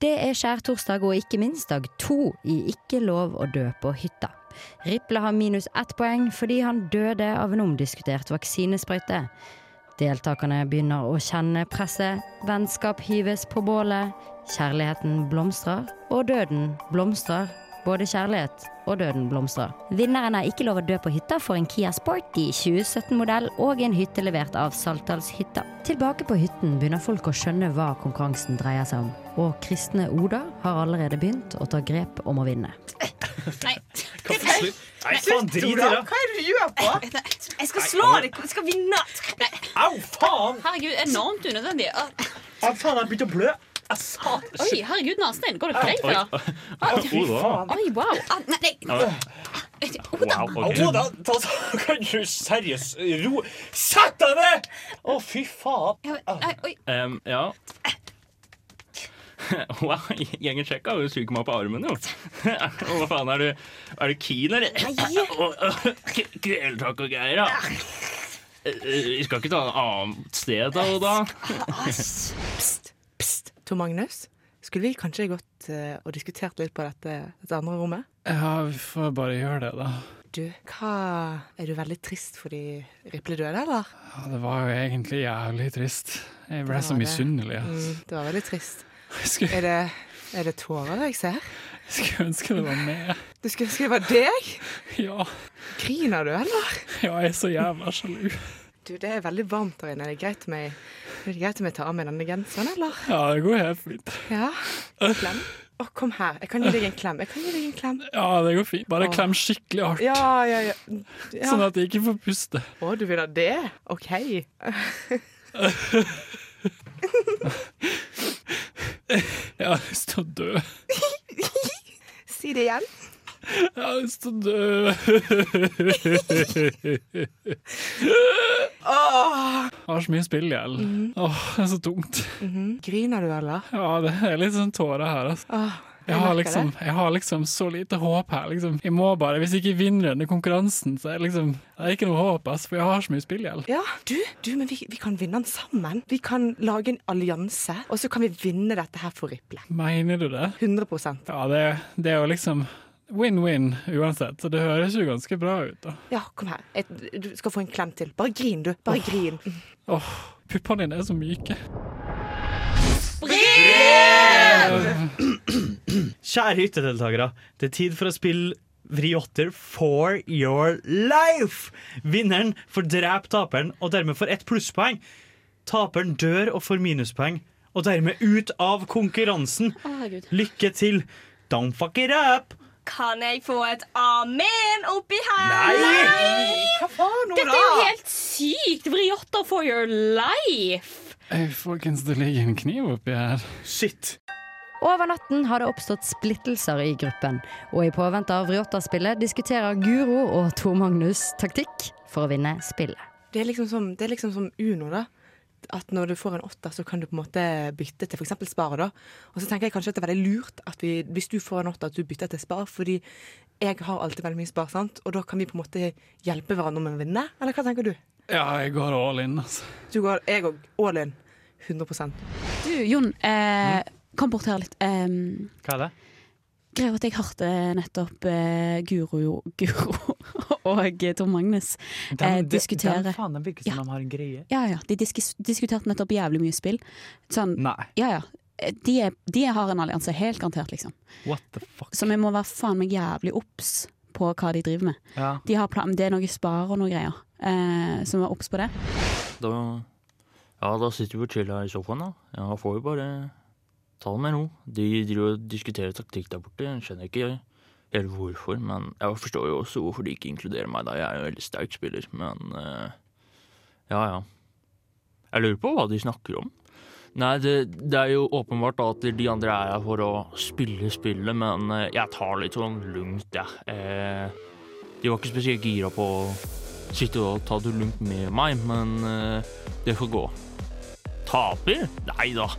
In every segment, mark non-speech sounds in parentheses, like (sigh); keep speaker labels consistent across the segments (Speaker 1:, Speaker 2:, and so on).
Speaker 1: Det er skjærtorsdag og ikke minst dag to i Ikke lov å dø på hytta. Riple har minus ett poeng fordi han døde av en omdiskutert vaksinesprøyte. Deltakerne begynner å kjenne presset, vennskap hyves på bålet, kjærligheten blomstrer, og døden blomstrer. Både kjærlighet og døden blomstrer. Vinneren av Ikke lov å dø på hytta får en Kia Sporty 2017-modell og en hytte levert av Saltdalshytta. Tilbake på hytten begynner folk å skjønne hva konkurransen dreier seg om, og kristne Oda har allerede begynt å ta grep om å vinne.
Speaker 2: Nei,
Speaker 3: Hva for slutt? Nei, faen, drit i det!
Speaker 4: Hva er det du gjør på?
Speaker 2: jeg skal slå deg! Jeg skal vinne! Nei,
Speaker 3: Au, faen!
Speaker 2: herregud, enormt unødvendig. Ah,
Speaker 3: Au, faen, jeg begynte å blø! Jeg sa
Speaker 2: Oi, herregud, Narstein. Går det greit, eller?
Speaker 3: Fy faen.
Speaker 2: Oi, wow. Ah, nei, nei.
Speaker 5: Wow, ok.
Speaker 3: Au, da, da, da kan du seriøst ro Sett deg ned! Å, fy faen.
Speaker 2: Ja, nei, oi.
Speaker 5: Em, ja. (laughs) Wow, gjengen sjekka og suger meg på armen, jo. (laughs) Å, Hva faen, er du, er du keen, eller? Å, (laughs) k- Kvelertak og greier, ja. Eh, eh, Vi skal ikke ta et annet sted, da, Oda?
Speaker 4: Pst, pst, Tor Magnus. Skulle vi kanskje gått eh, og diskutert litt på dette, dette andre rommet?
Speaker 6: Ja, vi får bare gjøre det, da.
Speaker 4: Du, hva Er du veldig trist fordi Riple døde, eller?
Speaker 6: Ja, det var jo egentlig jævlig trist. Jeg ble så
Speaker 4: var det.
Speaker 6: misunnelig. Altså.
Speaker 4: Mm, det var veldig trist.
Speaker 6: Jeg skulle,
Speaker 4: Er det, er det tårer jeg ser?
Speaker 6: skulle ønske det var meg.
Speaker 4: Du skulle ønske det var deg?
Speaker 6: Ja,
Speaker 4: Griner du, eller?
Speaker 6: ja jeg er så jævla sjalu.
Speaker 4: Du, det er veldig varmt der inne. Er det greit om jeg, er det greit om jeg tar av meg denne genseren, eller?
Speaker 6: Ja, det går helt fint.
Speaker 4: Ja. Klem. Å, kom her. Jeg kan gi deg en klem. Jeg kan gi deg en klem.
Speaker 6: Ja, det går fint. Bare klem skikkelig hardt,
Speaker 4: Ja, ja, ja. ja.
Speaker 6: sånn at jeg ikke får puste.
Speaker 4: Å, du vil ha det? OK.
Speaker 6: Jeg har lyst til å dø. Jeg
Speaker 4: Si det igjen.
Speaker 6: har lyst til å dø. Jeg har så mye spill i hjel.
Speaker 4: Mm.
Speaker 6: Åh, det er så tungt.
Speaker 4: Griner du, eller?
Speaker 6: Ja, det er litt sånn tårer her, altså.
Speaker 4: Åh,
Speaker 6: Jeg har,
Speaker 4: Ah, merker
Speaker 6: liksom, jeg har liksom så lite håp her. Liksom. Jeg må bare, Hvis jeg ikke vinner denne konkurransen, så er det liksom, det er ikke noe håp. ass, for jeg har så mye spillgjeld.
Speaker 4: Ja, du, du men vi, vi kan vinne den sammen. Vi kan lage en allianse, og så kan vi vinne dette her for Riple.
Speaker 6: Mener du det?
Speaker 4: 100
Speaker 6: Ja, det, det er jo liksom win-win uansett. Så det høres jo ganske bra ut, da.
Speaker 4: Ja, kom her. Et, du skal få en klem til. Bare grin, du. Bare grin.
Speaker 6: Åh, puppene dine er så myke.
Speaker 3: Kjære hyttedeltakere, det er tid for å spille Vriotter for your life! Vinneren får drepe taperen, og dermed får ett plusspoeng. Taperen dør og får minuspoeng, og dermed ut av konkurransen.
Speaker 2: Å, herregud.
Speaker 3: Lykke til! Don't fuck it up!
Speaker 7: Kan jeg få et amen oppi her?
Speaker 3: Hva faen,
Speaker 2: Dette er jo helt sykt! Vriotter for your life!
Speaker 6: Ei, folkens, det ligger en kniv oppi her.
Speaker 3: Shit.
Speaker 1: Over natten har det oppstått splittelser i gruppen, og i påvente av Vrjotta-spillet diskuterer Guro og Tor Magnus taktikk for å vinne spillet.
Speaker 4: Det er liksom som, det er liksom som Uno, da. At når du får en åtter, så kan du på en måte bytte til f.eks. Spar. da. Og så tenker jeg kanskje at det er veldig lurt at vi, hvis du får en åtter, at du bytter til Spar. Fordi jeg har alltid veldig mye Spar, sant. Og da kan vi på en måte hjelpe hverandre med å vinne. Eller hva tenker du?
Speaker 6: Ja, jeg går all in, altså.
Speaker 4: Du går, jeg òg. All in. 100
Speaker 2: Du, Jon, eh, kom bort her litt. Um,
Speaker 3: Hva er det?
Speaker 2: Greia er at jeg hørte nettopp eh, Guro, Guro (laughs) og Tor Magnus eh, diskutere
Speaker 3: faen, de virker
Speaker 2: som
Speaker 3: de har en greie.
Speaker 2: Ja, ja, de diskis- diskuterte nettopp jævlig mye spill. Sånn,
Speaker 3: Nei.
Speaker 2: ja, ja. eh, De, er, de har en allianse, helt garantert, liksom.
Speaker 3: What the fuck?
Speaker 2: Så vi må være faen meg jævlig obs på hva de driver med.
Speaker 3: Ja.
Speaker 2: De har plan, det er noe spar og noe greier, eh, så vi er obs på det.
Speaker 5: Da, ja, da sitter vi og chiller i sofaen, da. Ja, da får vi bare ta det med ro. De driver og diskuterer taktikk der borte. Jeg skjønner ikke helt hvorfor, men jeg forstår jo også hvorfor de ikke inkluderer meg, da. Jeg er jo en veldig sterk spiller, men eh, ja, ja. Jeg lurer på hva de snakker om. Nei, det, det er jo åpenbart da at de andre er her for å spille spillet, men eh, jeg tar litt sånn lugnt, jeg. Eh, de var ikke spesielt gira på å sitte og ta det lugnt med meg, men eh, det får gå. Taper? Nei da.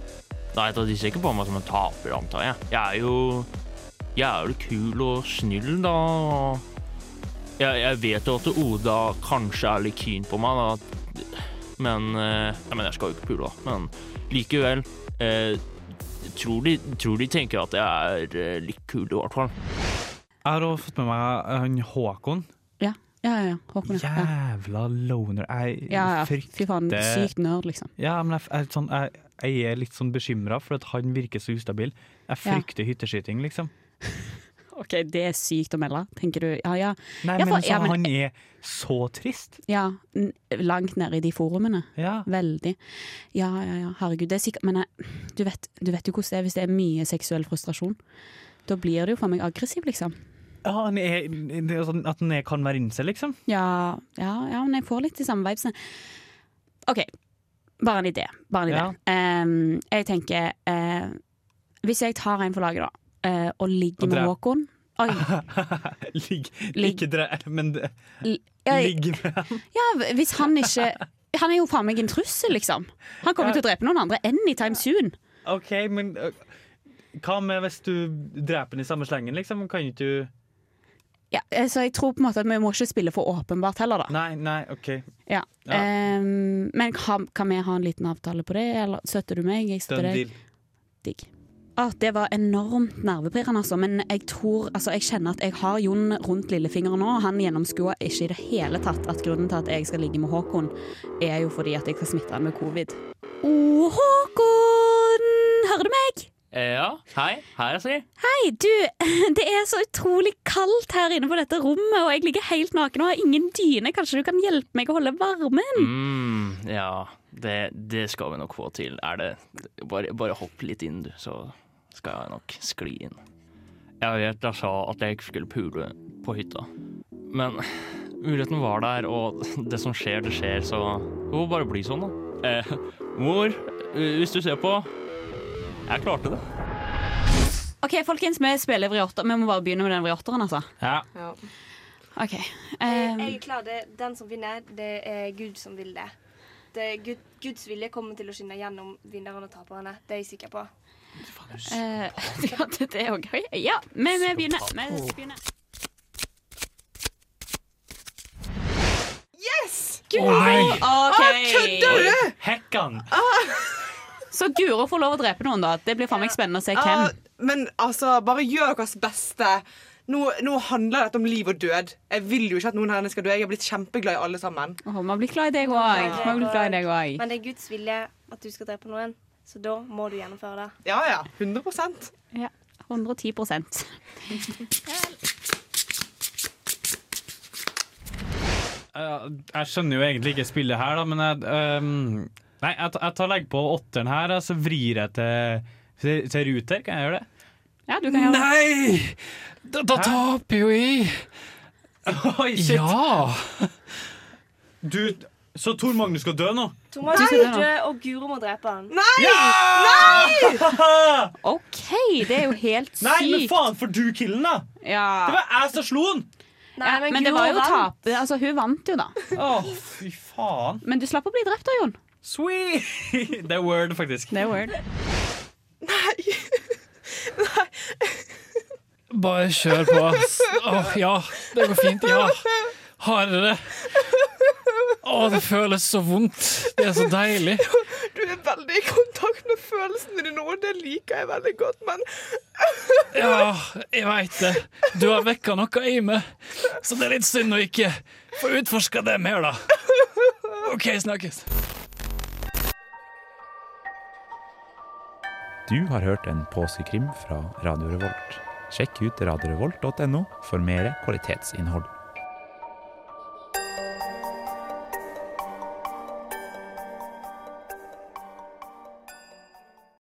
Speaker 5: Nei da, De ser ikke på meg som en taper, antar jeg. Jeg er jo jævlig kul og snill, da. og Jeg, jeg vet jo at Oda kanskje er litt keen på meg, da. Men, eh, ja, men jeg skal jo ikke pule, da. Men likevel. eh, tror de, tror de tenker at jeg er eh, litt kul, i hvert fall.
Speaker 3: Jeg har også fått med meg eh, han Håkon.
Speaker 2: Ja, ja, ja. ja. Håkon, ja. ja.
Speaker 3: Jævla loner. Jeg
Speaker 2: Ja, ja.
Speaker 3: frykt-
Speaker 2: Fy faen,
Speaker 3: Det-
Speaker 2: sykt nerd, liksom.
Speaker 3: Ja, men jeg, jeg, er sånn, jeg, jeg er litt sånn bekymra, for at han virker så ustabil. Jeg
Speaker 2: Ja.
Speaker 3: frykter hytteskyting, liksom.
Speaker 2: OK, det er sykt å melde, tenker du. Ja, ja.
Speaker 3: Nei,
Speaker 2: Ja,
Speaker 3: men,
Speaker 2: for-
Speaker 3: så,
Speaker 2: ja, men-
Speaker 3: han er så trist.
Speaker 2: ja n- langt nede i de forumene.
Speaker 3: Ja.
Speaker 2: Veldig. Ja, ja, ja. Herregud, det er sikkert Men jeg, du, vet, du vet jo hvordan det er hvis det er mye seksuell frustrasjon. Da blir det jo for meg aggressiv, liksom.
Speaker 3: Ja, han er, det er sånn at han er, kan være incel, liksom. (laughs)
Speaker 2: Ja, ja, ja, men jeg får litt de samme vibesene. OK, bare en idé. Bare en idé.
Speaker 3: Ja.
Speaker 2: Ehm, jeg tenker eh, Hvis jeg tar en for laget, da, eh, og ligger
Speaker 3: Og
Speaker 2: med
Speaker 3: drep.
Speaker 2: Håkon Oi,
Speaker 3: Ligg
Speaker 2: Ligg.
Speaker 3: Ikke dre... Men det-
Speaker 2: l- jeg,
Speaker 3: ligg med
Speaker 2: ja, hvis han ikke Han er jo faen meg en trussel, liksom. Han kommer
Speaker 3: Ja.
Speaker 2: til å drepe noen andre anytime soon.
Speaker 3: OK, men øh, hva med hvis du dreper den i samme slengen, liksom? Kan ikke du
Speaker 2: Ja, eh, så jeg tror på en måte at vi må ikke spille for åpenbart heller, da.
Speaker 3: Nei, nei, OK.
Speaker 2: Ja.
Speaker 3: Ja.
Speaker 2: Ehm, men kan, kan vi ha en liten avtale på det, eller støtter du meg? Jeg støtter
Speaker 3: Done
Speaker 2: deg.
Speaker 3: deal.
Speaker 2: Digg. Ah, det var enormt nervepirrende, altså. Men jeg tror, altså, jeg kjenner at jeg har Jon rundt lillefingeren nå. Han gjennomskuer ikke i det hele tatt at grunnen til at jeg skal ligge med Håkon, er jo fordi at jeg skal smitte han med covid. Å, Håkon! Hører du meg?
Speaker 5: Eh, Ja, hei. Hei, jeg sier.
Speaker 2: Hei, du! (laughs) Det er så utrolig kaldt her inne på dette rommet, og jeg ligger helt naken og har ingen dyne. Kanskje du kan hjelpe meg å holde varmen?
Speaker 5: Mm, ja, det, det skal vi nok få til. Er det Bare, bare hopp litt inn, du, så skal jeg nok skli inn. Jeg vet jeg sa at jeg ikke skulle pule på hytta, men muligheten var der, og det som skjer, det skjer, så det må bare bli sånn, da. Eh, mor, hvis du ser på Jeg klarte det.
Speaker 2: OK, folkens, vi spiller vriåtter. Vi må bare begynne med den vriåtteren, altså.
Speaker 5: Ja.
Speaker 4: Ja.
Speaker 2: OK.
Speaker 7: Jeg,
Speaker 2: ehm,
Speaker 7: jeg er klar. Det, den som vinner, det er Gud som vil det. det er Gud, Guds vilje kommer til å skinne gjennom vinnerne og taperne. Det er jeg sikker på.
Speaker 2: Eh, (laughs) ja, det, det er jo gøy. Ja, men vi begynner. Vi begynner.
Speaker 6: Å nei!
Speaker 2: OK.
Speaker 3: Hekkan!
Speaker 2: Ah. Så Guro får lov å drepe noen, da. Det blir faen meg spennende å se hvem.
Speaker 4: Ja, men altså, bare gjør deres beste. Nå, nå handler dette om liv og død. Jeg vil jo ikke at noen her inne skal dø. Jeg har blitt kjempeglad i alle sammen.
Speaker 2: Åh, man blir glad i deg òg. Man blir glad i deg òg.
Speaker 7: Men det er Guds vilje at du skal drepe noen, så da må du gjennomføre det.
Speaker 4: Ja, ja. 100
Speaker 2: Ja, 110
Speaker 3: Eh, Jeg skjønner jo egentlig ikke spillet her, da, men jeg ehm, Nei, jeg, ta- jeg tar legger på åtteren her, og så vrir jeg til, til, til Ruter. Kan jeg gjøre det?
Speaker 2: Ja, du kan gjøre det.
Speaker 6: Nei! Da, da
Speaker 3: Hæ?
Speaker 6: taper jo jeg.
Speaker 3: Oi,
Speaker 6: Ja!
Speaker 3: Du, så Tor Magnus skal dø
Speaker 2: (laughs)
Speaker 3: nå?
Speaker 7: Thomas
Speaker 2: Nei!
Speaker 7: skal dø, og Guro må drepe han.
Speaker 2: OK, det er jo helt
Speaker 3: Nei, men
Speaker 2: sykt.
Speaker 3: faen, for du killen, da! Det
Speaker 2: Ja.
Speaker 3: var jeg som slo han!
Speaker 2: Ja, men det var jo tap. Altså, hun vant jo, da.
Speaker 3: Å, fy faen.
Speaker 2: Men du slapp å bli drept da, Jon.
Speaker 3: Sweet! (laughs) Det er word, faktisk.
Speaker 2: Det er word.
Speaker 6: Bare kjør på, ass. Åh, ja, det går fint. Ja. Hardere. Åh, det føles så vondt. Det er så deilig.
Speaker 4: Du er veldig i kontakt med følelsene dine, og det liker jeg veldig godt, men
Speaker 6: Ja, jeg veit det. Du har vekka noe i meg, så det er litt synd å ikke få utforska det mer, da. OK, snakkes.
Speaker 8: Du har hørt en påskekrim fra Radio Revolt. Sjekk ut radiorevolt.no for mer kvalitetsinnhold.